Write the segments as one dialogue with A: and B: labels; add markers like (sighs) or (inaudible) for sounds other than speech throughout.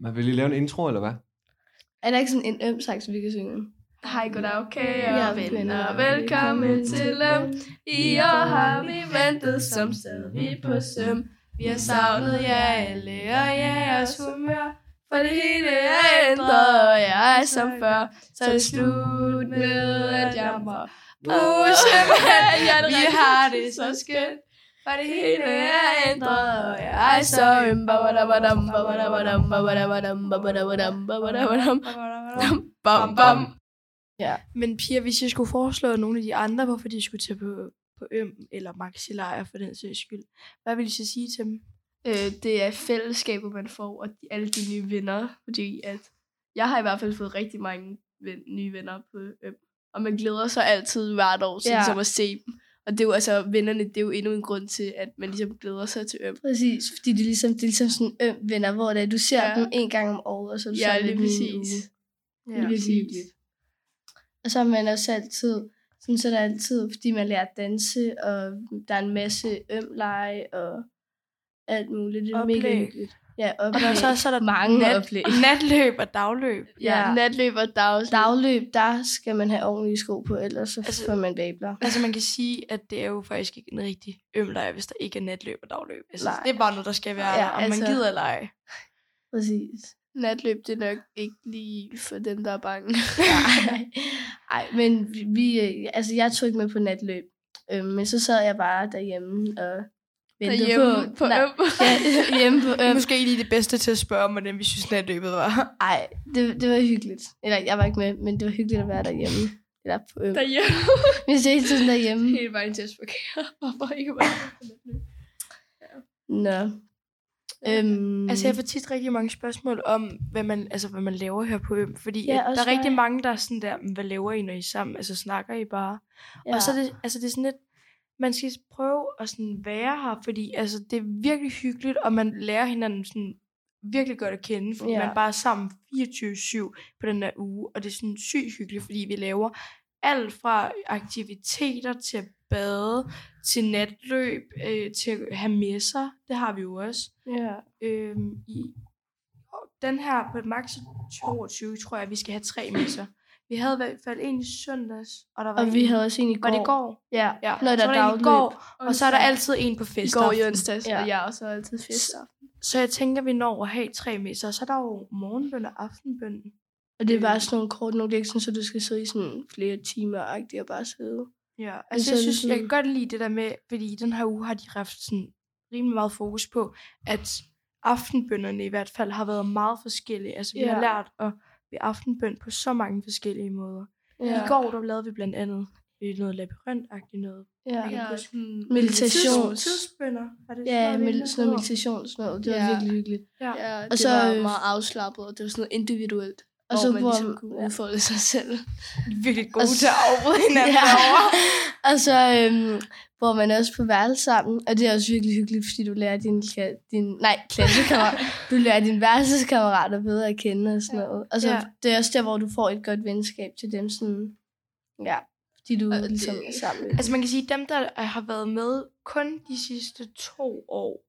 A: Man vil lige lave en intro, eller hvad?
B: Er der ikke sådan en øm slags, vi kan synge?
C: Hej, goddag,
B: Ja,
C: kære venner,
B: venner.
C: velkommen til dem. I år har vi ventet, som sad vi på søm. Vi har savnet jer alle, og jeres humør. For det hele er ændret, og jeg er som før. Så er det slut med at jamre. Puse, men vi har det så skønt. For det hele er ændret, og jeg er så øm. Babadabadam, babadabadam, babadabadam, babadabadam, babadabadam. Bam, bam.
D: Men piger, hvis jeg skulle foreslå nogle af de andre, hvorfor de skulle tage på, på øm eller maxilejr for den sags skyld, hvad ville I så sige til dem?
C: Øh, det er fællesskaber, man får, og de, alle de nye venner. Fordi at jeg har i hvert fald fået rigtig mange ven, nye venner på øm. Og man glæder sig altid hvert år til
B: Ja.
C: ja. ligesom at se dem. Og det er jo altså, vennerne, det er jo endnu en grund til, at man ligesom glæder sig til øm.
B: Præcis, fordi det er ligesom, det er ligesom sådan øm venner, hvor det er, du ser ja.
C: Ja.
B: dem en gang om året, og så er du
C: Ja,
B: sammen
C: lige
B: med dem i en
C: præcis.
B: uge.
D: Ja.
B: Lige præcis. Og så er man også altid, sådan så er der altid, fordi man lærer at danse, og der er en masse øm lege, og alt muligt. Det er mega
D: Oplæg.
B: hyggeligt. Ja,
D: Og
B: oplæg.
D: der, så, så er der
B: mange
D: nat,
B: oplæg.
D: (laughs)
C: (laughs)
D: natløb og dagløb.
C: Ja,
B: Ja.
C: ja. natløb og dags.
B: Dagløb, der skal man have ordentlige sko på, ellers så altså,
D: Altså-
B: får man babler.
D: Altså man kan sige, at det er jo faktisk ikke en rigtig øm lejr, hvis der ikke er natløb og dagløb. Altså,
B: Nej.
D: det er bare noget, der skal være
B: Ja,
D: ja, der, om altså...
B: altså-
D: man gider at lege.
B: Præcis.
C: Natløb, det er nok ikke lige for dem, der er bange.
B: Nej, men vi- vi, øh, altså jeg tog ikke med på natløb, øh, men så sad jeg bare derhjemme og ventede
C: Derhjemme
B: på,
C: på
B: nej,
C: øm.
B: Ja, (laughs) hjemme på øm.
D: Måske lige det bedste til at spørge om, hvordan vi synes, natløbet var.
B: Ej, det, det var hyggeligt. Eller jeg var ikke med, men det var hyggeligt at være derhjemme. Eller på øm.
C: (laughs) Derhjemme.
B: Men jeg hele tiden
D: (laughs) Mm.
B: derhjemme.
C: Hele vejen til at spørge, hvorfor ikke bare på natløb?
B: Nå. Øhm,
D: Altså, jeg får tit rigtig mange spørgsmål om, hvad man, altså, hvad man laver her på Øm. Fordi
B: Ja,
D: ja, der
B: også
D: er rigtig
B: mig.
D: mange, der er sådan der, "Men hvad laver I, når I er sammen? Altså, snakker I bare? Ja. Og så er det, altså, det er sådan lidt, man skal prøve at sådan være her, fordi altså, det er virkelig hyggeligt, og man lærer hinanden sådan virkelig godt at kende, fordi
B: Ja.
D: ja. man bare er sammen 24-7 på den her uge, og det er sådan sygt hyggeligt, fordi vi laver alt fra aktiviteter til at bade, til natløb, øh, til at have messer, det har vi jo også
B: ja.
D: øhm, i og den her på max 22, tror jeg, vi skal have tre messer. Vi havde i hvert fald en i søndags, og der var
B: Og
D: en,
B: vi havde også en i går.
D: var det i går?
B: Ja.
D: Ja,
B: Når der
D: så
B: er
D: var der en i
B: dagløb.
D: går, og så er der altid en på
C: I
D: fest.
C: går i onsdags,
B: Ja.
C: ja. og jeg er også altid fest.
D: Så jeg tænker, vi når at have tre messer, og så er der jo morgenbøn og aftenbøn.
B: Og det er bare sådan nogle kort nogle, det er ikke sådan, så du skal sidde i sådan flere timer og bare sidde.
D: Ja,
B: så
D: altså
B: er
D: jeg
B: det
D: synes, jeg
B: sådan-
D: kan godt lide det der med, fordi i den her uge har de haft sådan rimelig meget fokus på, at aftenbønderne i hvert fald har været meget forskellige. Altså vi
B: Ja.
D: har lært at blive aftenbønd på så mange forskellige måder. Ja. I går der lavede vi blandt andet øh, noget labyrintagtigt noget.
B: Ja.
D: Jeg kan ikke
C: Ja,
D: huske-
C: sådan-
B: Meditation.
D: Tids- Tidsbønder. Er det
B: Ja,
D: noget,
B: med
D: lignende?
B: sådan noget meditation og sådan noget. Det var
C: Ja.
B: virkelig hyggeligt.
D: Ja.
C: Ja, og
B: Og
C: det
B: så,
C: så,
B: øh,
C: var meget afslappet, og det var sådan noget individuelt, og hvor så, man hvor, ligesom kunne
B: ja.
C: udfolde sig selv.
D: De er Virkelig
B: Og
D: gode
B: så-
D: til at afbryde (laughs) hinanden
B: (laughs) Ja.
D: Altså, ja. derovre.
B: Og så øhm, bor man også på værelse sammen, og det er også virkelig hyggeligt, fordi du lærer din, kla- din nej,
D: (laughs)
B: klassekammerat, du lærer dine værelseskammerater bedre at kende og sådan noget. Og så
D: Ja.
B: det er også der, hvor du får et godt venskab til dem, sådan, ja, fordi du
C: Og
B: og
C: det-
B: ligesom er sammen med.
D: Altså man kan sige, dem der har været med kun de sidste to år,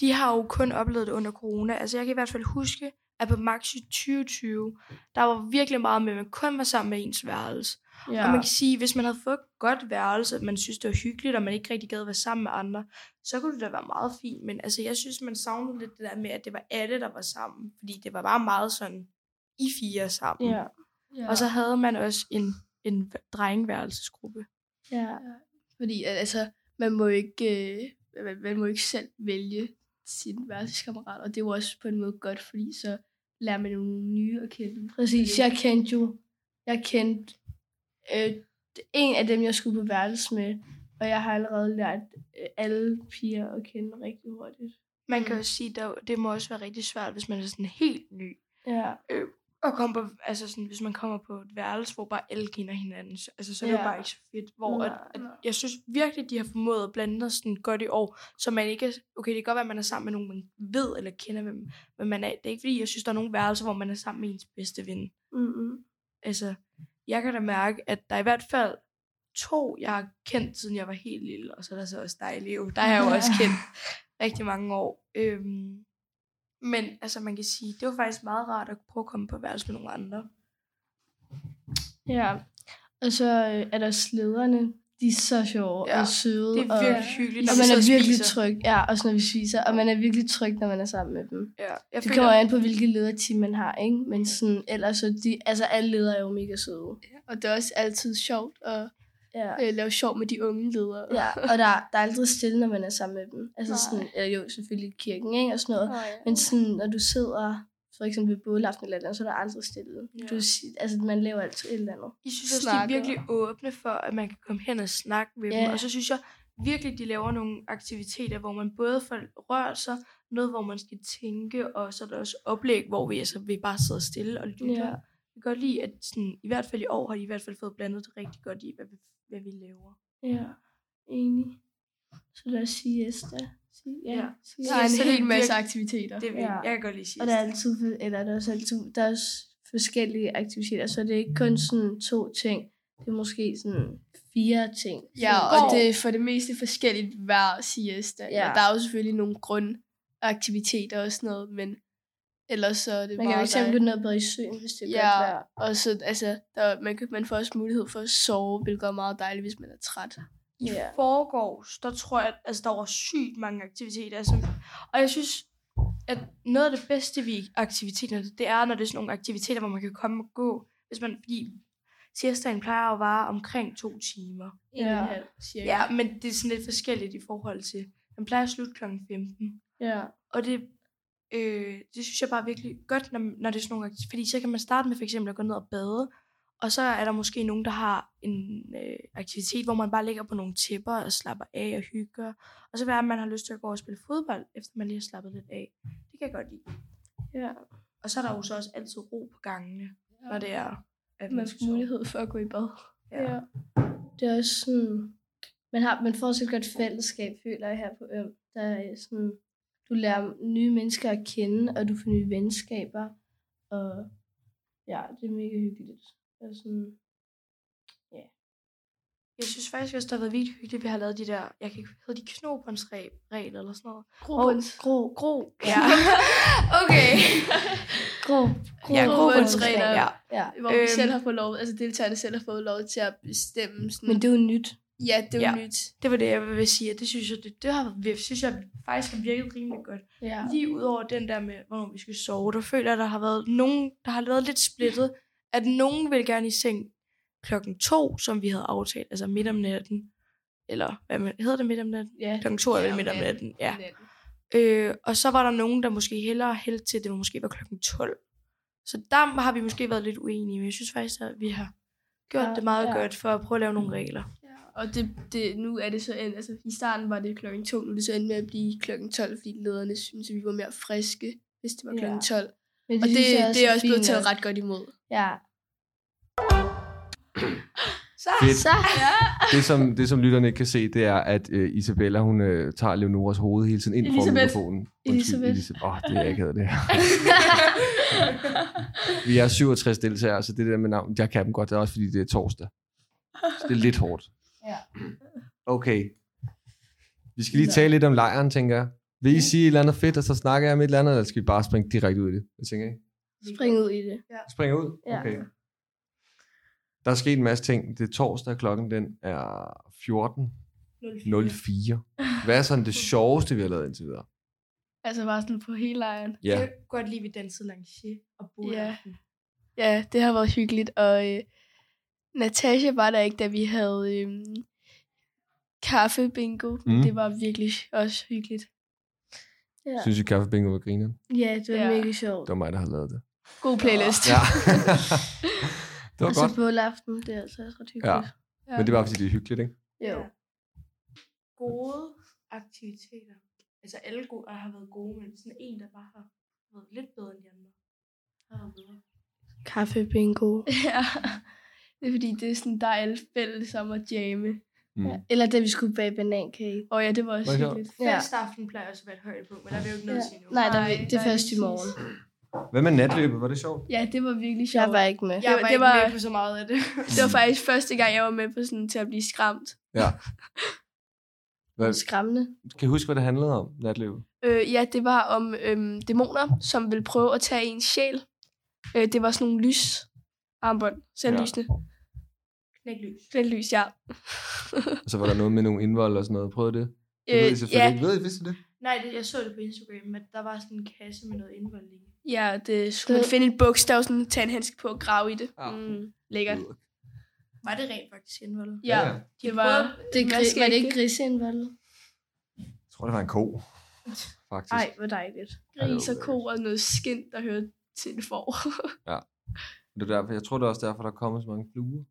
D: de har jo kun oplevet det under corona. Altså jeg kan i hvert fald huske, at på max i 2020, der var virkelig meget med, at man kun var sammen med ens værelse. Ja. Og man kan sige, hvis man havde fået et godt værelse, at man synes, det var hyggeligt, og man ikke rigtig gad at være sammen med andre, så kunne det da være meget fint. Men altså, jeg synes, man savnede lidt det der med, at det var alle, der var sammen. Fordi det var bare meget sådan, I fire sammen.
B: Ja.
C: Ja.
D: Og så havde man også en, en drengeværelsesgruppe.
B: ja.
C: fordi at, altså, man må jo ikke, øh, man, man må ikke selv vælge sin værelseskammerat, og det er jo også på en måde godt, fordi så lærer man nogle nye at kende.
B: Præcis,
C: Ja.
B: jeg kendte jo, jeg kendte øh, en af dem, jeg skulle på værelse med, og jeg har allerede lært øh, alle piger at kende rigtig hurtigt.
D: Man kan
C: Mm.
D: jo sige, at det må også være rigtig svært, hvis man er sådan helt ny.
B: Ja.
D: Og komme på, altså sådan, hvis man kommer på et værelse, hvor bare alle kender hinanden, så, altså, så er det
B: Ja.
D: jo bare ikke så fedt. Hvor at,
B: Nej,
D: at,
B: nej.
D: jeg synes virkelig, de har formået at blande os sådan godt i år, så man ikke er, okay, det kan godt være, at man er sammen med nogen, man ved eller kender, hvem, hvem man er. Det er ikke fordi, jeg synes, der er nogle værelser, hvor man er sammen med ens bedste ven.
B: Mm-hmm.
D: Altså, jeg kan da mærke, at der er i hvert fald to, jeg har kendt, siden jeg var helt
B: (laughs)
D: lille, og så er der så også dig, Leo. Der har jeg jo også kendt rigtig mange år. Øhm, Men altså, man kan sige, det var faktisk meget rart at prøve at komme på værelse med nogle andre.
B: Ja. Og så øh, er der slederne. De er så sjove
D: Ja,
B: og søde.
D: Det er virkelig
B: og,
D: hyggeligt, når
B: og
D: man,
B: man
D: så
B: er virkelig
D: spiser.
B: tryg. Ja, også når vi spiser. Og man er virkelig tryg, når man er sammen med dem.
D: Ja, jeg
B: Det
D: føler,
B: kommer an på, hvilket lederteam man har, ikke? Men sådan, ellers så de, altså alle ledere er jo mega søde.
C: Og det er også altid sjovt at
B: Ja.
C: øh, lave sjov med de unge ledere.
B: Ja, og der, der er aldrig stille, når man er sammen med dem. Altså
C: Nej.
B: sådan, eller jo, selvfølgelig i kirken, ikke? Og sådan noget.
C: Oh, ja.
B: Men sådan, når du sidder for eksempel ved bålaften eller et eller andet, så er der aldrig stille.
D: Ja.
B: Du, si- altså, man laver altid et eller andet.
D: I synes også, de
C: snakker.
D: er virkelig åbne for, at man kan komme hen og snakke med
B: Ja.
D: dem. Og så synes jeg virkelig, de laver nogle aktiviteter, hvor man både får rørt sig, noget, hvor man skal tænke, og så er der også oplæg, hvor vi, altså, vi bare sidder stille og lytter.
B: Ja.
D: Ja. Jeg kan godt lide, at sådan, i hvert fald i år har de i hvert fald fået blandet det rigtig godt i, hvad vi, hvad vi laver.
B: Ja, enig. Så der er siesta. Si-
D: Ja.
B: siesta.
C: Der er
D: Så
C: en
D: det er
C: hel masse
D: virkelig-
C: aktiviteter.
D: Det vil, ja.
B: Ja.
D: Jeg kan godt lide sige.
B: Og der er altid, for- eller der er også altid, der er også forskellige aktiviteter, så det er ikke kun sådan to ting. Det er måske sådan fire ting.
C: Ja,
B: Sådan-
C: og
D: går.
C: det er for det meste forskelligt hver siesta.
B: Ja.
C: Ja. Der er jo selvfølgelig nogle grundaktiviteter og sådan noget, men ellers så er det
B: Man kan
C: bare
B: jo eksempel
C: dig.
B: gå ned og bade i søen, hvis det er
C: Ja.
B: ja. godt vejr.
C: Og så, altså, der, man, kan, man får også mulighed for at sove, hvilket er meget dejligt, hvis man er træt.
D: I
B: Ja.
D: forgårs, der tror jeg, at altså, der var sygt mange aktiviteter. Altså, og jeg synes, at noget af det bedste ved aktiviteterne, det er, når det er sådan nogle aktiviteter, hvor man kan komme og gå. Hvis man, fordi siestaen plejer at vare omkring to timer.
C: En og en
B: Ja.
C: halv, cirka.
D: Ja, men det er sådan lidt forskelligt i forhold til, den plejer at slutte kl. 15.
B: Ja.
D: Og det, øh, det synes jeg bare er virkelig godt, når, når det er sådan nogle aktiviteter. Fordi så kan man starte med for eksempel at gå ned og bade. Og så er der måske nogen, der har en øh, aktivitet, hvor man bare ligger på nogle tæpper og slapper af og hygger. Og så være, at man har lyst til at gå og spille fodbold, efter man lige har slappet lidt af. Det kan jeg godt lide.
B: ja.
D: Og så er der jo så også altid ro på gangene, når det er, at
C: Man får
D: sove.
C: mulighed for at gå i bad.
D: Ja.
B: Ja. Det er også sådan, man, har, man får også et godt fællesskab, føler jeg her på Øm. Der er øh, sådan, du lærer nye mennesker at kende, og du får nye venskaber. Og ja, det er mega hyggeligt. Og sådan,
D: Jeg synes faktisk også, det har været virkelig hyggeligt, at vi har lavet de der, jeg kan ikke, hedder de knobrundsregler eller sådan noget.
B: Grobunds. Gro,
D: Gro. Ja. (laughs) okay.
B: gro,
D: Ja,
C: grobundsregler.
D: Ja.
B: Ja.
C: Hvor øhm. vi
D: Øhm.
C: selv har fået lov, altså deltagerne selv har fået lov til at bestemme sådan.
B: Men det er jo nyt.
C: ja, det er jo
D: Ja.
C: nyt.
D: Det var det, jeg vil sige, og det synes jeg, det, det har, vir- synes jeg faktisk har virket rimelig godt.
B: Ja.
D: Lige ud over den der med, hvornår vi skal sove, der føler jeg, der har været nogen, der har været lidt splittet, at nogen vil gerne i seng klokken to, som vi havde aftalt, altså midt om natten, eller hvad man, hedder det midt om natten?
B: Ja.
D: Klokken to er vel
C: Ja,
D: midt om
C: natten.
D: natten, ja. Øh, og så var der nogen, der måske hellere hældte til, at det var måske var klokken 12. Så der har vi måske været lidt uenige, men jeg synes faktisk, at vi har gjort
B: Ja,
D: ja, det meget
B: ja.
D: ja. Mm. godt for at prøve at lave nogle regler.
C: Ja, og det, det, nu er det så end, altså i starten var det klokken 2, nu er det så endt med at blive klokken 12, fordi lederne synes, at vi var mere friske, hvis det var
B: Ja.
C: klokken 12. Og
B: Men
C: det,
B: synes jeg
C: det, det er også blevet
B: fint
C: taget
B: nok.
C: ret godt imod.
B: Ja.
D: Så
A: Fedt.
B: Så.
A: Det som, det, som lytterne ikke kan se, det er, at øh, Isabella, hun øh, tager Leonoras hoved hele tiden ind fra
C: Elisabeth.
A: mikrofonen.
B: Elisabeth.
A: Åh, oh, det er ikke det
B: (laughs)
A: her. Vi er 67 deltagere, så det der med navn, jeg kan dem godt. Det er også, fordi det er torsdag. Så det er lidt hårdt.
B: Ja.
A: Okay. Vi skal lige tale lidt om lejren, tænker jeg. Vil I sige et eller andet fedt, og så snakker jeg om et eller andet, eller skal vi bare springe direkte ud i det? Hvad tænker I?
B: Spring ud i det.
A: Springer ud?
B: Ja.
A: Okay. Der er sket en masse ting. Det er torsdag, klokken den er 14.04. Hvad er sådan
C: (laughs)
A: det sjoveste, vi har lavet indtil videre?
C: Altså bare sådan på hele lejren.
D: Jeg
A: Ja,
D: kan godt lide, at vi dansede lanché og burde.
C: Ja. Ja, det har været hyggeligt, og øh, Natasha var der ikke, da vi havde øh, kaffebingo.
A: Mm.
C: Mm. Det var virkelig også hyggeligt.
B: Ja,
A: synes I kaffe bingo var grineren?
B: ja det var
C: Ja.
B: mega sjovt.
A: Det var mig, der har lavet det.
C: God playlist.
A: (laughs) Ja. det var
B: Og så
A: godt.
B: bålaften, det er altså også ret hyggeligt.
C: Ja.
A: Men det var fordi, det er hyggeligt, ikke?
B: Jo.
D: Gode aktiviteter. Altså alle gode, og har været gode, men sådan en, der bare har været lidt bedre end de andre. Har været bedre.
B: Kaffebingo.
C: (laughs) Ja. Det er fordi, det er sådan, der er alle fælles om at jamme.
A: Mm.
B: Ja. Eller da vi skulle bage banankage.
C: Og ja, det var også
A: Hvor sjovt.
C: hyggeligt.
B: Ja.
D: Festaften plejer også at være et højdepunkt, men der er vi jo ikke
B: Ja.
D: noget til nu.
B: Nej, der,
C: Nej,
B: det er
C: nej,
B: først i
C: præcis.
B: morgen.
A: Hvad med natløbet? Var det sjovt?
C: Ja, det var virkelig sjovt.
B: Jeg var ikke med.
D: Jeg
C: Det
D: var,
C: var- det
D: ikke
C: var-
D: med på så meget af det.
C: Det var faktisk første gang, jeg var med på sådan til at blive skræmt.
A: Hvad,
B: Skræmmende.
A: kan I huske, hvad det handlede om, natløbet?
C: Øh, ja, det var om øhm, dæmoner, som ville prøve at tage ens sjæl. Øh, det var sådan nogle lys armbånd, selvlysende. Ja.
D: Knæklys.
C: Den lys, ja.
A: Og så var der noget med nogle indvold og sådan noget. Prøvede det? Det ved I
C: Øh,
A: selvfølgelig
C: ja,
A: ikke. Ved I, vidste I det?
D: Nej, det, jeg så det på Instagram, men der var sådan en kasse med noget indhold i.
C: ja, det skulle man
B: Det-
C: finde et bogstav, sådan tage en handske på og grave i det.
A: Au.
C: Mm, lækkert.
D: Var det rent faktisk indhold?
C: Ja,
A: ja.
C: det var...
B: Det er
C: Hvad
B: gri-
C: skal
B: var det
C: ikke-
B: ikke griseindvoldet?
A: Jeg tror, det var en
C: (laughs)
A: ko. Faktisk.
C: Ej, hvor dejligt.
A: Ja, det var
C: Gris og ko og noget skind, der hører til det for.
A: Det er derfor, jeg tror, det er også derfor, der er kommet så mange fluer.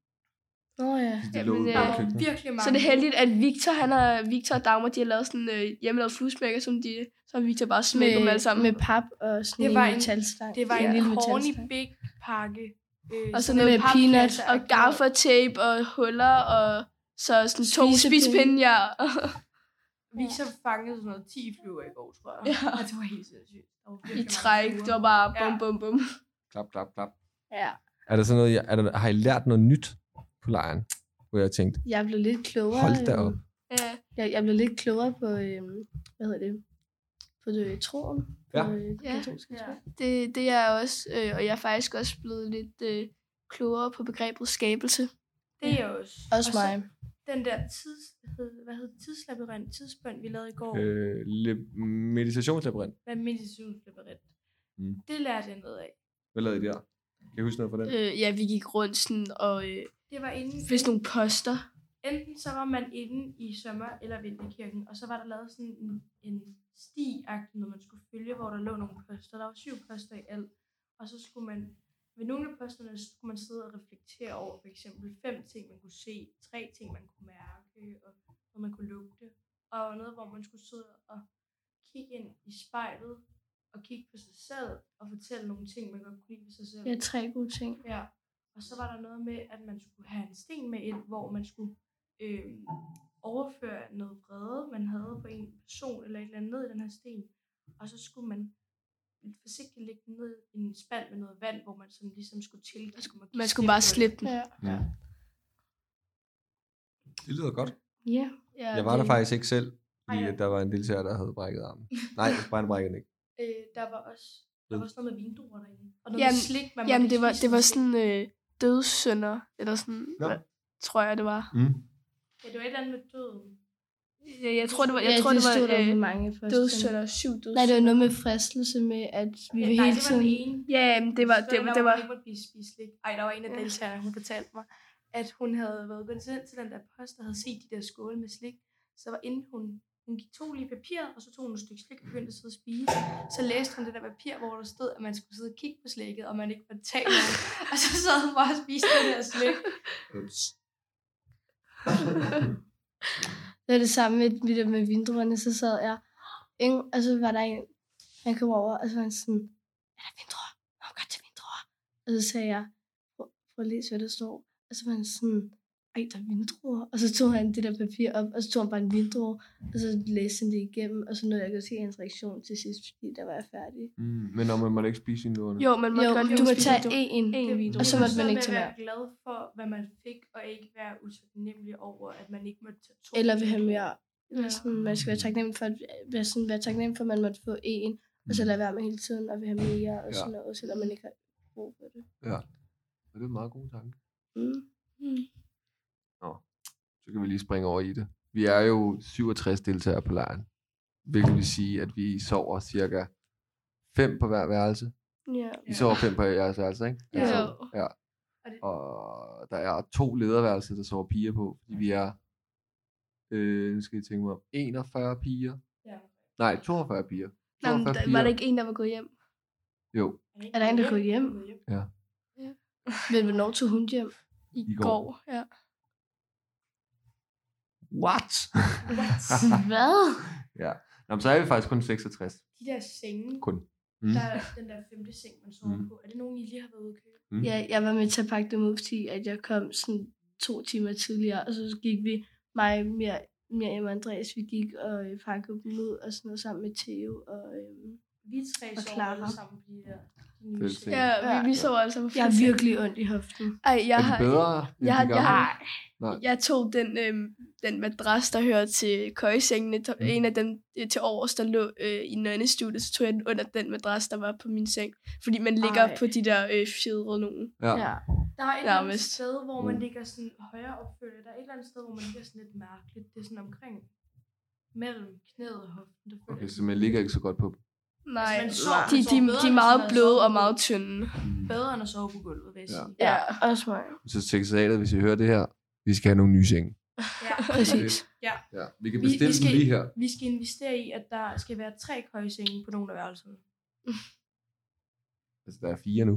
B: Nå ja.
A: fordi De lå
C: Jamen,
A: ude
C: øh,
A: på
D: Der var
A: køkkenet.
D: virkelig mange.
C: (laughs) Så det er heldigt, at Victor, han har, Victor og Dagmar, de har lavet sådan øh, hjemmelavet fluesmækker, som de, så har Victor bare smækket dem alle sammen.
B: med pap og sådan
D: Det
B: det
D: var
B: var en
D: en-
B: metalstang.
D: Det var en
B: lille
D: corny
B: metalstang.
D: big pakke. Øh,
C: og så
D: sådan
C: noget
D: en
C: Ligesom peanuts
D: papkasse-
C: og gaffertape og huller og så sådan to
B: Spisepinde.
C: spisepinde, ja.
D: Vi så fangede sådan noget 10 flyver i går, tror jeg.
C: Ja.
D: Og det var helt sindssygt. Der var
C: I
D: virkelig mange
C: (laughs) træk.
D: fluer.
C: Det var bare bum,
D: altså, Ja.
C: bum, bum.
A: Klap, klap, klap.
B: Ja.
A: Er der sådan noget, jeg- er der, har I lært noget nyt på lejren? Hvor jeg tænkte,
B: Jeg blev lidt klogere.
A: hold da
B: øhm,
A: op.
C: Ja.
B: Jeg, jeg blev lidt klogere på, øhm, hvad hedder det, på det, øh, troen.
A: Ja.
B: På, øh,
C: Ja.
B: katolske
D: Ja.
B: tro.
C: Det, det er jeg også, øh, og jeg er faktisk også blevet lidt øh, klogere på begrebet skabelse.
D: Det er også.
B: Også
D: og så
B: mig.
D: Den der tids, hed- hvad hed det? tidslabyrint, tidsbønd, vi lavede i går. Øh.
A: Øh, le- meditationslabyrint.
D: Hvad er meditationslabyrint?
A: Mm.
D: Det lærte jeg noget af.
A: Hvad lavede I der? Kan I huske noget fra den?
C: Øh, ja, vi gik rundt sådan, og øh,
D: Det var inden,
C: fik sådan nogle poster.
D: enten så var man inde i sommer- eller vinterkirken, og så var der lavet sådan en, en sti når man skulle følge, hvor der lå nogle poster. Der var syv poster i alt. Og så skulle man, ved nogle af posterne, så skulle man sidde og reflektere over for eksempel fem ting, man kunne se, tre ting, man kunne mærke, og noget, man kunne lugte. Og noget, hvor man skulle sidde og kigge ind i spejlet, og kigge på sig selv, og fortælle nogle ting, man godt kunne lide ved sig selv.
B: Ja, tre gode ting.
D: Ja, og så var der noget med, at man skulle have en sten med ind, hvor man skulle øh, overføre noget vrede, man havde på en person eller et eller andet ned i den her sten. Og så skulle man forsigtigt lægge den ned i en spand med noget vand, hvor man sådan ligesom skulle til. så Skulle
C: Man skulle bare slippe den.
B: Ja.
A: Ja.
D: Mm.
A: Det lyder godt.
B: ja.
C: Ja,
A: Jeg var der
C: det-
A: faktisk ikke selv, fordi
D: Ej, ja.
A: at der var en deltager, der havde brækket armen. Nej, brændte brækket den ikke.
D: Øh, der var også der var også noget med vinduer derinde. Og noget
C: Jamen-
D: med slik, man
C: Jamen,
D: måtte
C: det var,
D: spise
C: det var
D: noget slik.
C: sådan øh, dødssønder, eller sådan,
A: Nå.
C: hvad, tror jeg, det var.
A: Mm.
D: Ja, det var et eller andet med døden.
C: Jeg, jeg tror, det var, jeg
B: ja,
C: tror, det,
B: stod
C: var
B: der
C: øh,
B: med mange først.
C: dødssønder, syv dødssynder.
B: Nej, det var noget med fristelse med, at vi
D: Ja,
B: vil
D: nej,
B: hele
D: det var
B: tiden...
D: den ene.
C: Ja, jamen, det var, det,
D: Spørgsmålet,
C: det
D: hvor
C: var,
D: man ikke måtte blive spist slik. Ej, der var en af
C: Ja.
D: deltagerne, hun fortalte mig, at hun havde været gået til, til den der post, og havde set de der skåle med slik. Så var inden hun, hun gik to lige papir, og så tog hun et stykke slik og begyndte at sidde og spise. Så læste hun det der papir, hvor der stod, at man skulle sidde og kigge på slikket, og man ikke måtte tage
B: (laughs)
D: noget. og så sad hun bare og spiste det der slik.
A: Ups.
B: Det var det samme med, med, det med vindruerne, så sad jeg. Ingen, og så var der en, han kom over, og så var han sådan, er der vindruer? Må man godt tage vindruer? Og så sagde jeg, prøv, prøv at læse, hvad der står. Og så var han sådan, ej, der er vindruer. Og så tog han det der papir op, og så tog han bare en vindrue, og så læste han det igennem, og så nåede jeg ikke at se hans reaktion til sidst, fordi der var jeg færdig.
A: Mm. Men når man måtte ikke spise sine låner.
C: jo, man måtte
B: jo,
C: godt
B: du må
C: spise
B: tage
C: det.
B: en.
C: en video.
B: Og så måtte man ikke
D: tage
B: tage
D: være glad for, hvad man fik, og ikke være utaknemmelig over, at man ikke måtte tage to.
B: Eller vil have mere. Eller
D: Ja.
B: Sådan, man skal være taknemmelig for, at, være, sådan, være taknemmelig for, at man måtte få en, og så lade være med hele tiden, og vil have mere, og
A: Mm. Ja.
B: ja. sådan noget, selvom man ikke har brug for det.
A: Og det er en meget god tanke.
B: Mm.
A: Så kan vi lige springe over i det. Vi er jo 67 deltagere på lejren, hvilket vil sige, at vi sover cirka 5 på hver værelse.
C: Ja.
A: I sover 5 på jeres værelse, ikke?
B: Jo.
A: Ja.
D: Og det-
A: Og der er to lederværelser, der sover piger på, fordi vi er, øh, nu skal jeg tænke mig om, 41 piger.
D: Ja.
A: Nej, 42 piger.
C: Nå, men
A: 42
C: der, var der ikke en, der var gået hjem?
A: Jo,
B: Er der en, der er gået hjem? Men hvornår tog hun hjem?
C: I,
A: I
C: I
A: går.
C: går. ja.
A: what?
B: (laughs) Hvad?
A: ja. Nå, men så er vi faktisk kun 66.
D: De der senge,
A: Kun. Mm.
D: Der er den der femte seng, man sover
A: Mm.
D: mm. på. Er det nogen, I lige har været ude at købe?
A: Mm.
B: Ja, jeg var med til at pakke det ud, fordi at jeg kom sådan to timer tidligere, og så gik vi, mig, mere, mere og Andreas, vi gik og øh, pakkede dem ud, og sådan noget sammen med Theo, og øhm,
D: Vi tre
B: Og
D: sover
B: Clara.
D: alle sammen på de der de nye
A: Fælles
D: senge.
A: seng.
C: Ja, vi, vi
A: Ja.
C: sover altså på
B: jeg har
C: fem.
B: virkelig ondt i hoften.
C: Ej, jeg
A: er de
C: har...
A: bedre? end de
C: Jeg, har, jeg,
A: gamle?
C: har,
A: Nej.
C: jeg tog den øhm, den madras, der hører til køjesengene, to- en af dem øh, til overs, der lå øh, i nonnestudiet, så tog jeg den under den madras, der var på min seng. Fordi man ligger
D: Ej.
C: på de der øh, fjedre nogen.
A: Ja.
B: Ja.
D: Der er et eller andet
C: Nærmest.
D: sted, hvor
A: Mm.
D: man ligger sådan højere opfølge. Der er et eller andet sted, hvor man ligger sådan lidt mærkeligt. Det er sådan omkring mellem knæet og hoften. Det føler
A: Okay,
D: jeg.
A: så man ligger ikke så godt på.
C: Nej,
D: man sover-
C: de,
D: man
C: de,
D: sover bedre,
C: de er
D: hvis
C: meget
D: man har
C: bløde
D: sovet
C: og
D: på
C: meget tynde.
D: bedre end at sove på gulvet, vil jeg
A: Ja.
D: sige.
B: ja, også mig.
A: Så sekretariatet, hvis I hører det her, vi skal have nogle nye senge.
D: Ja.
B: Præcis.
A: Ja, vi kan
D: Vi-
A: bestille vi, vi
D: vi skal-
A: dem lige her.
D: Vi skal investere i, at der skal være tre køjesenge på nogle af værelserne.
A: Altså, der er fire nu.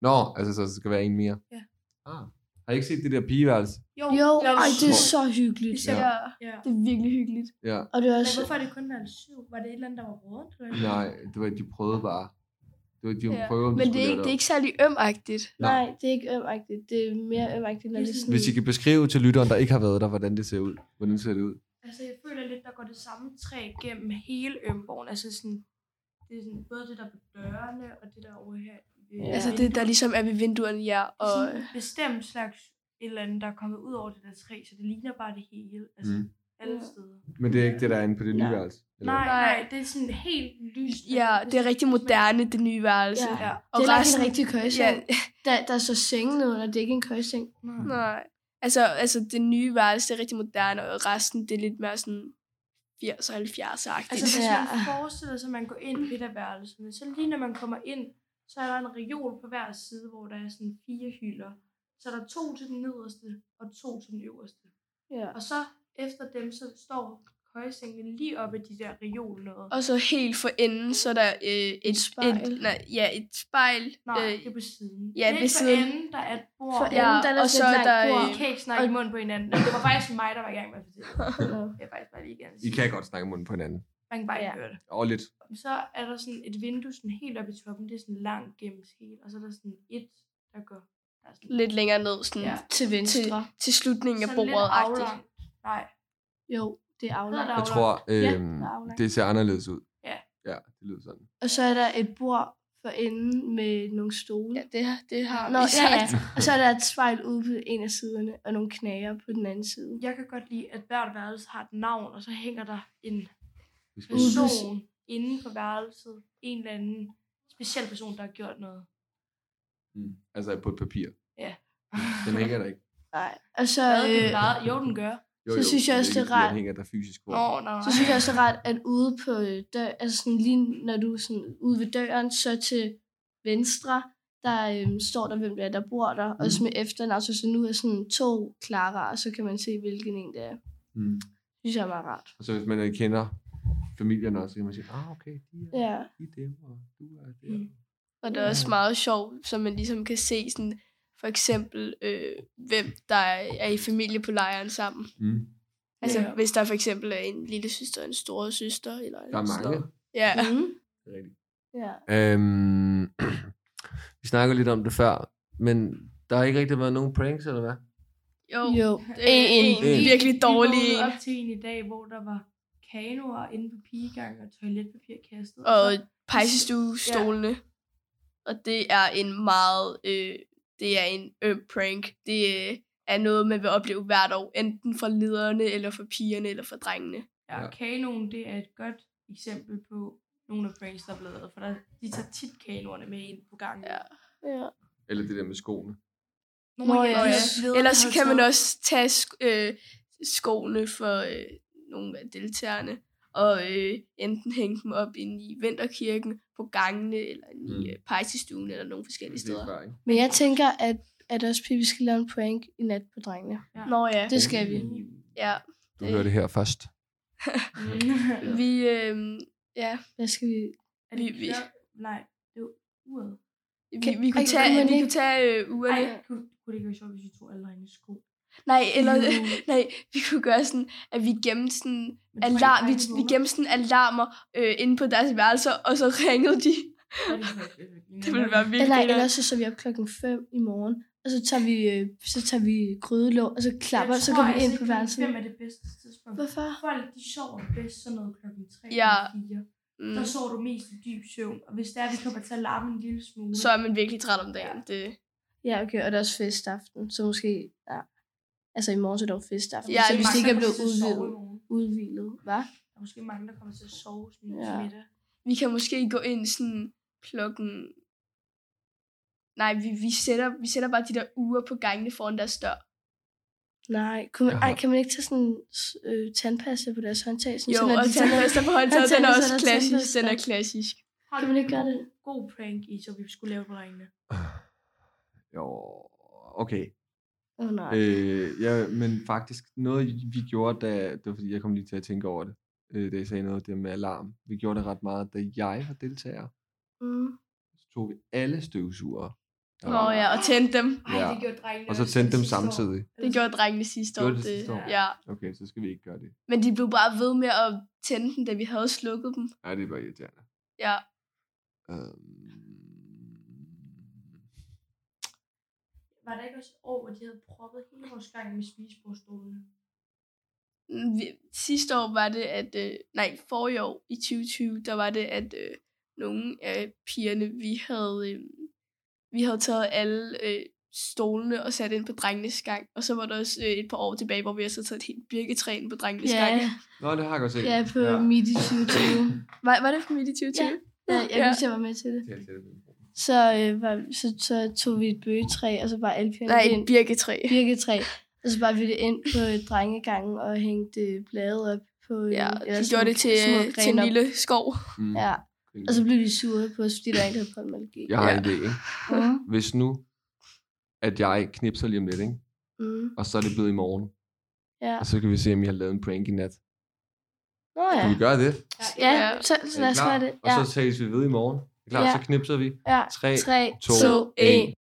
A: Nå, altså, så skal være en mere.
D: Ja.
A: Ah. Har I ikke set det der pigeværelse?
B: Jo,
D: jeg var
B: ej, det er
D: sur.
B: så hyggeligt.
A: Ja.
C: Ja.
D: Ja.
C: Det er virkelig hyggeligt.
A: Ja.
B: Og det er
D: Men
B: også...
D: hvorfor er det kun været syv? Var det et eller andet, der var rundt? Eller?
A: Nej, det var, de prøvede bare. Det var, de
C: Ja,
A: prøvede, om de
C: Men det
A: skulle
C: er
A: lave
C: ikke, det er ikke særlig ømagtigt.
B: Nej, det er ikke ømagtigt. Det er mere ømagtigt, når
D: Det er
B: det er
D: sådan-
B: sådan...
A: Hvis I kan beskrive til lytteren, der ikke har været der, hvordan det ser ud. Hvordan ser det ud?
D: Altså, jeg føler lidt, der går det samme træ gennem hele Ømborgen. Altså, sådan, det er sådan, både det, der er på dørene, og det der over her. Øh,
A: Ja.
C: Altså det, der ligesom er ved vinduerne, ja. Og,
D: og... en bestemt slags et eller andet, der er kommet ud over det der træ, så det ligner bare det hele. Altså,
A: Mm.
D: mm. alle
B: Ja.
D: steder.
A: Men det er ikke det, der er inde på det nye
B: Nej.
A: værelse? eller
D: Nej,
A: hvad?
D: nej, det er sådan helt lyst. Altså,
C: ja, det er rigtig moderne, det nye værelse.
B: Ja.
D: Ja.
C: Og
B: det er resten...
C: resten-
B: en rigtig køjeseng.
C: Ja,
B: Der, der er så senge nedenunder, det er ikke en køjeseng.
C: (laughs) Nej. Altså, altså det nye værelse, det er rigtig moderne, og resten, det er lidt mere sådan 80'er og 70'er-agtigt.
D: Altså,
C: Altså,
D: hvis
B: Ja.
D: man forestiller sig, at man går ind i et af værelserne, så lige når man kommer ind, så er der en reol på hver side, hvor der er sådan fire hylder. Så er der to til den nederste, og to til den øverste.
B: Ja.
D: Og så efter dem, så står køjesengene lige oppe i de der reol noget.
C: og så helt for enden, så er der øh, et, et
B: spejl.
C: Et, nej, ja, et spejl.
D: Nej,
C: øh,
D: det er på siden.
C: ja,
D: Lidt
C: ved
D: for
C: siden.
D: enden, der er et bord.
B: For
C: Ja,
B: enden, der er der
C: og
B: sådan et
C: så er
B: langt
C: der,
B: bord.
D: I kan ikke snakke i
B: Og-
D: munden på hinanden. Nå, Det var faktisk mig, der var i gang med at fortælle. det.
B: Nå.
D: Det er faktisk bare lige gerne
A: I kan godt snakke i munden på hinanden.
D: Man kan bare ikke
B: Ja.
D: høre det.
A: Og lidt.
D: Så er der sådan et vindue sådan helt oppe i toppen. Det er sådan langt gennem helt. Og så er der sådan et, der går. Der er sådan,
C: øh, Lidt længere ned, sådan
D: Ja.
C: ja.
B: Til venstre.
C: til slutningen af
D: sådan lidt
C: bordet-agtigt.
D: aflangt. Nej,
B: Jo, det er
D: det
B: aflangt.
D: er
A: Jeg tror, øh,
B: aflangt.
A: det ser anderledes ud.
D: Ja.
A: Ja, det lyder sådan.
B: Og så er der et bord for enden med nogle stole.
C: Ja, det, det har
B: Nå,
C: vi
B: ja,
C: sagt.
B: ja. Og så er der et spejl ude på en af siderne, og nogle knager på den anden side.
D: jeg kan godt lide, at hvert værelse har et navn, og så hænger der en
A: Vi skal-
D: person inde på værelset. En eller anden speciel person, der har gjort noget.
A: Mm. Altså på et papir.
D: Ja.
A: Den hænger der ikke.
B: Nej. Og så,
D: Hvad den
B: øh,
D: plejede- Jo, den gør.
A: Jo,
B: Så
A: jo,
B: synes jeg
A: men
B: også,
A: ikke,
B: det er
A: fordi Den
B: rart.
A: hænger der fysisk på.
D: Nå, nej,
B: så synes jeg også det er ret, at ude på øh, dør, altså sådan lige når du er sådan ude ved døren, så til venstre, der øhm, står der, hvem det er, der bor der, mm. også med efternavn, så, så nu er sådan to Clara, og så kan man se, hvilken en det er.
A: Mm.
B: Det synes jeg er meget rart.
A: Og så hvis man øh, kender familien også, så kan man sige, ah okay, de er,
B: Ja.
A: de er dem, og du er der.
D: Mm.
C: Og det er også meget sjovt, så man ligesom kan se sådan, for eksempel, øh, hvem der er i familie på lejren sammen.
A: Mm.
C: Altså,
D: Ja.
C: ja. hvis der for eksempel er en lille søster og en store søster. Eller
A: Der er mange.
C: Ja.
B: Mm.
A: Det er rigtigt.
B: ja.
A: Øhm, (clears throat) vi snakkede lidt om det før, men der har ikke rigtig været nogen pranks, eller hvad?
C: Jo. jo.
B: Jo.
C: En, en,
A: En.
C: en virkelig dårlig
D: Vi
C: en.
D: vågnede op til en i dag, hvor der var kanoer inde på pigegang og toiletpapir kastet. Altså,
C: Og
D: så-
C: pejsestuestolene. Ja. Og det er en meget... Øh, det er en øm prank. Det øh, er noget, man vil opleve hvert år. Enten fra lederne, eller fra pigerne, eller fra drengene.
D: ja,
A: Ja.
D: kanoen, det er et godt eksempel på nogle af pranks, der er blevet lavet, for der, de tager tit kanoerne med ind på gangen.
C: Ja.
B: ja.
A: Eller det der med skoene.
D: Nogle
B: Nå,
D: af de
B: ja.
D: ledere, der
C: Ellers så
D: har
C: kan man
D: taget-
C: også tage sk- øh, skoene for øh, nogle af deltagerne, og øh, enten hænge dem op inde i vinterkirken, på gangene, eller inde
A: Mm.
C: i øh, pejsestuen, eller nogle forskellige
A: Det er
C: steder.
A: før, ikke?
B: Men jeg tænker, at, at også Pippi skal lave en prank i nat på drengene.
C: Nå ja,
B: Det skal vi.
C: ja.
A: Du hører det her først.
D: Mm.
C: (laughs) Vi, øh, ja,
B: Hvad skal vi...
D: Er det
C: Vi- vi-
D: klok- Nej, det var uret.
C: vi,
B: Kan-
C: vi kunne
B: Ej, kunne
C: tage,
B: man
C: vi
B: ikke-
C: kunne tage øh,
D: Ej,
C: ugerne.
D: kunne, kunne det ikke være sjovt, hvis vi tog alle derinde i sko?
C: Nej,
B: (laughs)
D: (laughs)
C: eller, (laughs)
D: Jo.
C: nej, vi kunne gøre sådan, at vi gemte sådan,
D: Men tror I,
C: alarm, vi,
D: drenge
C: vi
D: vågner?
C: gemte sådan alarmer øh, inde på deres værelser, og så ringede de.
D: Ja, det kunne jeg- jeg-
C: Det ville være vildt.
B: Eller,
C: grineren.
B: eller så så vi op klokken 5 i morgen, og så tager vi, øh, så tager vi grydelåg, og så klapper,
D: Jeg
B: så
D: tror
B: går vi
D: altså
B: ind
D: ikke,
B: på
D: klokken
B: værelset.
D: Fem er det bedste tidspunkt.
B: Hvorfor?
D: Folk, de sover bedst sådan noget klokken 3
C: Ja.
D: eller 4.
C: Mm.
D: Der sover du mest i dyb søvn, og hvis det er, vi kommer til at larme en lille smule.
C: så er man virkelig træt om dagen. Det,
B: Ja, okay, og der er også festaften, så måske... Ja. Altså i morgen så er der jo festaften.
D: Ja,
B: Ja, så hvis
D: mange,
B: det ikke
D: der
B: er blevet
D: kommer til at sove
B: udvidet.
D: i morgen.
B: udvidet. Hvad?
D: Der er måske mange, der kommer til at sove sådan
B: Ja.
D: ja. middag.
C: Vi kan måske gå ind sådan klokken... Nej, vi, vi, sætter, vi sætter bare de der uger på gangene foran deres dør.
B: Nej, kunne man,
A: Jaha.
B: ej, kan man ikke tage sådan en øh, tandpasta på deres håndtag? Sådan,
C: Jo,
B: sådan, at
C: og
B: de tænder-
C: tandpasta på
B: Han
C: håndtaget, den er
B: tænder
C: også
B: sig, der
C: klassisk.
B: tænder
C: Den er
B: sig.
C: klassisk.
D: Har
B: Kan
D: du
B: man
D: en
B: ikke gøre det?
D: God prank i, så vi skulle lave på drengene.
A: (sighs) Jo, okay.
B: Åh oh, nej.
A: Øh, ja, men faktisk noget, vi gjorde, da, det var fordi, jeg kom lige til at tænke over det, øh, da jeg sagde noget af det med alarm. Vi gjorde det ret meget, da jeg var deltager.
B: Mm.
A: Så tog vi alle støvsugere. der
C: Nå
A: var.
C: ja, og tændte dem.
D: Ej,
A: Ja.
D: det gjorde drengene.
A: Og så
D: også
A: tændte dem
D: sidste år.
A: samtidig.
C: Det gjorde drengene sidste år.
A: Gjorde det sidste år?
C: Ja.
A: Okay, så skal vi ikke gøre det.
C: Men de blev bare ved med at tænde den, da vi havde slukket dem.
A: Ja, det var irriterende.
C: Ja.
A: Øhm,
D: Var der ikke også et år, hvor de havde proppet hele vores gang med spisebordstolene?
C: Mm, vi- Sidste år var det, at... Øh, nej, forrige år i 2020, der var det, at øh, nogle af pigerne, vi havde... Øh, vi havde taget alle øh, stolene og sat ind på drengenes gang. Og så var der også øh, et par år tilbage, hvor vi også havde taget et helt birketræ ind på drengenes
B: Ja,
C: gang.
A: Nå, det har jeg godt set.
B: ja, på ja. midt i 2020.
C: Var, var det for midt i 2020?
B: Ja. Ja, jeg
C: Ja.
B: ja. vidste, jeg var med til det.
A: Det er telefonen.
B: Så, øh, var, så, så tog vi et bøgetræ, og så var alle pigerne
C: Nej,
B: ind.
C: et birketræ.
B: Birketræ. Og så var vi det ind på øh, drengegangen og hængte øh, blade op på... øh,
C: Ja,
B: eller
C: de
B: små-
C: gjorde det til, øh,
B: små
C: til en
B: grene op.
C: lille skov.
A: Mm,
B: Ja, altså,
A: det er
B: og så blev de sure på os, fordi der ikke havde polymologi.
A: Jeg har
C: Ja.
A: en idé, ikke?
B: Mm.
A: Hvis nu, at jeg knipser lige om lidt, ikke?
B: Mm.
A: og så er det blevet i morgen,
B: Ja.
A: og så kan vi se, om I har lavet en prank i nat.
B: Nå ja.
A: Kan vi gøre det?
B: Ja,
C: Ja.
B: så, så
A: Er
B: lad
A: I
B: os
A: klar?
B: gøre det.
A: Og
B: Ja,
A: så tages vi ved i morgen. Er I klar?
B: Ja.
A: Så knipser vi.
B: ja.
A: 3,
B: 3,
A: to,
B: 2,
A: en.
B: 1.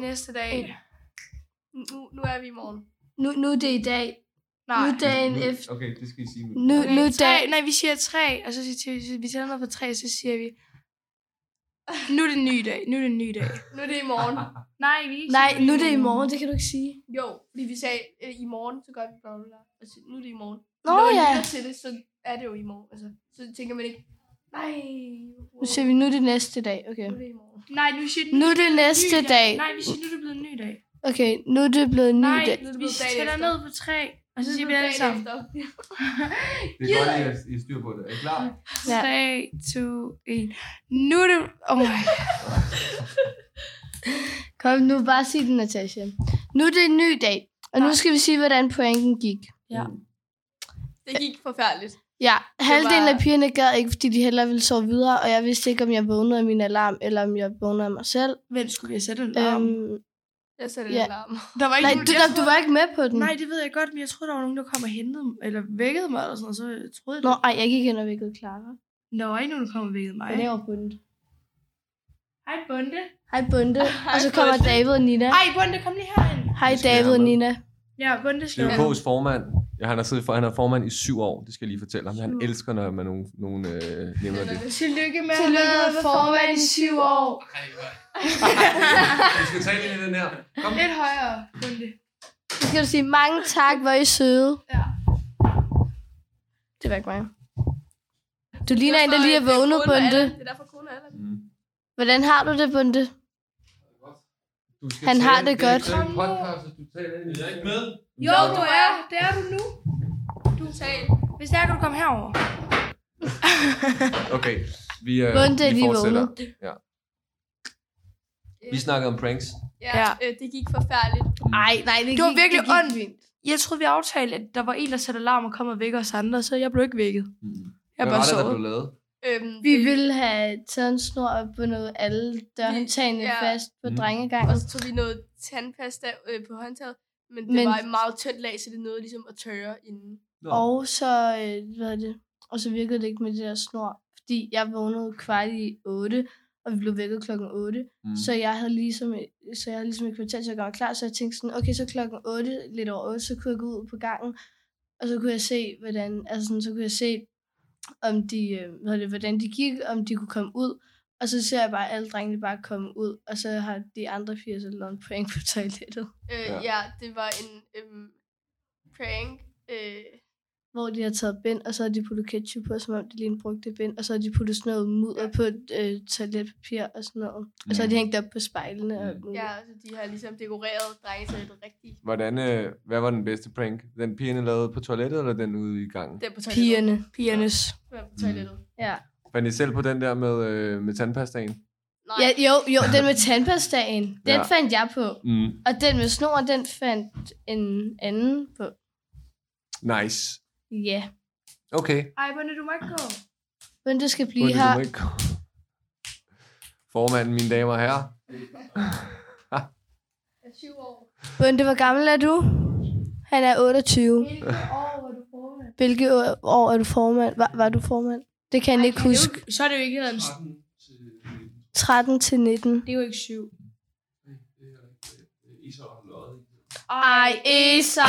C: Næste dag. Nu, nu er vi i morgen.
B: Nu, nu er det i dag.
D: Nej.
B: Nu dagen efter.
A: Okay, det skal I sige. nu.
B: Nu, nu
D: tre,
B: dag.
D: nej, vi siger tre, og så siger vi, vi tæller ned på tre, så siger vi, nu er det en ny dag, nu er det en ny dag.
C: Nu er det i morgen.
D: Nej, vi ikke
B: Nej, nu er det i morgen, det kan du ikke sige.
C: Jo, fordi vi sagde, øh, i morgen, så gør vi bla bla bla. Og så, nu er det i morgen.
B: Nå
C: Når man
B: ja.
C: lytter til det, så er det jo i morgen. Altså, så tænker man ikke, nej, wow,
B: Nu ser vi, nu er det næste dag. Okay.
C: nu er det i morgen.
D: Nej, nu siger
B: Nu er det næste dag.
D: Nej, vi siger, nu er det blevet en ny dag.
B: Okay, nu er det blevet en ny
D: Nej,
B: dag.
C: nu er det
D: vi
C: blevet dagen
D: tæller
C: efter.
D: ned på tre, og så siger vi alle sammen,
A: Det er godt, at I styr på det. Er I klar?
B: Ja.
D: 3, 2, 1. Nu er det... Oh my.
B: Kom nu, bare sig den, Natasha. Nu er det en ny dag, og nu
D: Nej.
B: skal vi sige, hvordan pointen gik.
D: Ja.
C: Det gik forfærdeligt.
B: Ja, halvdelen
C: var-
B: af pigerne gad ikke, fordi de hellere ville sove videre, og jeg vidste ikke, om jeg vågnede af min alarm, eller om jeg vågnede af mig selv.
D: Hvem skulle jeg sætte en
B: Øhm,
D: alarm?
C: Jeg satte
B: Ja.
C: en alarm.
D: der var ikke
B: nej,
D: nogen,
B: du,
D: jeg
B: nej, du
D: troede-
B: var ikke med på den.
D: Nej, det ved jeg godt, men jeg troede, der var nogen, der kom og hentede mig, eller vækkede mig, eller sådan noget, så jeg troede
B: Nå,
D: jeg...
B: ej, jeg gik hen og vækkede Clara.
D: det- Der var ikke nogen, der kom og vækkede mig.
B: Jeg laver bundet.
D: Hej, Bunde.
B: Hej
D: (laughs)
B: Bunde.
C: Hej,
B: og så kommer
C: Bunde.
B: David og Nina.
D: Hej, Bunde, kom lige herind.
B: Hej
A: Nu skal jeg
B: David og
A: med.
B: Nina.
D: Ja, Bunde
A: Det
D: skal...
A: er jo K's formand. Ja, han har siddet for, han er formand i syv år. Det skal jeg lige fortælle ham. Han
B: Syv.
A: elsker, når man nogen, nogen øh,
B: (laughs)
A: nævner det.
D: Tillykke med
B: Tillykke med at være formand i
D: syv år.
A: Vi skal tage ind i den her. Kom.
D: Lidt højere, Bunde.
B: Så skal du sige mange tak, hvor er I søde.
D: Ja.
B: Det var ikke mig. Du ligner en, der lige er vågnet, Bunde.
C: Det er derfor kun alle.
A: Mm.
B: Hvordan har du det, Bunde?
A: Du skal
B: Han
A: tale-
B: har det godt.
A: Det er ikke en øh, podcast, hvis du taler ind i
E: Jeg er ikke med.
D: Jo, du er. Det er du nu.
C: Du sagde,
D: Hvis der kan du komme herover.
A: Okay, vi, øh,
B: Bunde er
A: vi
B: lige
A: fortsætter.
B: vågnet.
A: Vi snakkede om pranks.
C: ja,
D: Ja.
C: øh, det gik forfærdeligt.
B: Nej, nej, det,
D: Det var
B: gik-
D: virkelig
B: gik
D: ondt.
B: fint.
D: Jeg troede, vi aftalte, at der var en, der satte alarm og kom og vækker os andre, så jeg blev ikke vækket.
A: Mm.
D: Jeg
A: Hvad
D: bare
A: var det, der
D: sovet.
A: blev lavet?
C: Øhm,
B: Vi
C: det-
B: ville have taget en snor og bundet alle dørhåndtagene
C: Ja.
B: ja. fast på
A: Mm.
B: mm.
C: Og
B: drengegangen.
C: så tog vi noget tandpasta øh, på håndtaget, men det men...
B: Men-
C: var et meget tyndt lag, så det nåede ligesom at tørre inden.
A: Nå.
B: Og så, øh, hvad er det? Og så virkede det ikke med det der snor, fordi jeg vågnede kvart i 8, og vi blev vækket klokken 8.
A: Mm.
B: Så jeg havde ligesom, et- så jeg havde ligesom et kvarter til at gøre mig klar, så jeg tænkte sådan, okay, så klokken 8, lidt over 8, så kunne jeg gå ud på gangen, og så kunne jeg se, hvordan, altså sådan, så kunne jeg se, om de, øh, hvad er det, hvordan de gik, om de kunne komme ud, og så ser jeg bare alle drengene bare komme ud, og så har de andre fire så lavet en prank på toilettet.
C: Øh,
A: Ja.
C: ja. ja, det var en øhm, prank. Øh,
B: hvor de har taget bind, og så har de puttet ketchup på, som om de lige brugte bind, og så har de puttet sådan noget mudder på øh, toiletpapir og sådan noget. Og så har de
E: Mm.
B: hængt op på spejlene og
E: Mm.
B: alt muligt.
C: Ja, så de har ligesom dekoreret drengetoilettet rigtigt.
A: Hvordan, øh, hvad var den bedste prank? Den pigerne lavede på toilettet, eller den ude i gangen?
C: Den på toilettet.
B: Pigerne.
D: Pigernes.
C: Den på toilettet.
B: Mm. Ja.
A: Fandt I selv på den der med, øh, med tandpastaen?
C: Nej,
B: ja. Jo, jo, den med tandpastaen, den
A: Ja.
B: fandt jeg på.
A: Mm.
B: Og den med snor, den fandt en anden på.
A: Nice.
B: Ja.
A: Okay.
D: Ej, Bonne, du må ikke gå.
B: Men det skal blive
A: Fordi
B: her.
A: du må ikke gå. Formanden, mine damer og herrer.
C: jeg er 20
A: (laughs)
C: år.
B: Bunde, hvor gammel er du? Han er 28.
C: Hvilke år var du formand?
B: Hvilket år- år er du formand? Var, var du formand? Det kan jeg ikke huske.
C: Så er det jo ikke en...
B: 13 til 19.
C: Det er jo ikke 7.
D: Ej,
C: Esau!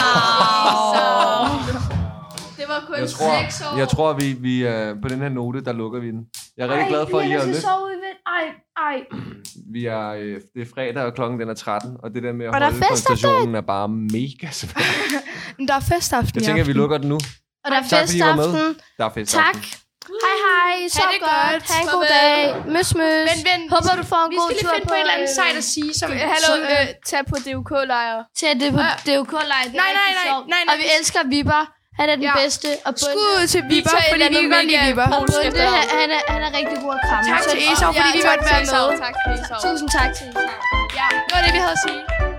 C: Det var kun
A: Jeg tror,
C: 6 år.
A: jeg tror vi, vi øh, på den her note, der lukker vi den. Jeg er rigtig glad for, at I har lyst.
C: sove i vind. Ej, ej.
A: Vi er, øh, det er fredag, og klokken den er 13, og det der med at
D: Og der er
A: holde
D: fest
A: koncentrationen er bare mega svært.
D: Men der er festaften
A: Jeg
D: i
A: tænker, at vi
D: aften.
A: lukker den nu.
B: Og der er
A: Tak, fordi I var med.
B: festaften.
A: Der er fest
B: Tak. Hej hej, så
D: Ha' det
B: godt.
D: godt.
B: Ha' en god
C: Farvel.
B: dag. Møs, møs.
D: Men vent,
B: Håber du får en
D: vi
B: god
D: skal lige
B: tur
D: finde på et eller andet
B: øh,
D: sejt at sige, som...
C: Hallo, øh, tag på DUK-lejre.
B: Til at det på det er jo kun nej,
D: Øh. Nej, nej, nej, nej, nej.
B: Og vi elsker Vipper. Han er den
D: Ja.
B: bedste. Og Bunde,
D: Skud ud til Viber,
C: tager et
D: fordi vi kan
C: eller andet
D: godt lide
C: mega
D: Viber.
B: og Bunde han, han, er, han er rigtig god at kramme.
D: Tak
B: Så-
D: til Esau, fordi vi
C: tak
D: måtte være
C: til
D: med.
C: Esau, Tak til Esau.
B: Tusind tak til Esau.
D: Ja, det var det, vi havde at sige.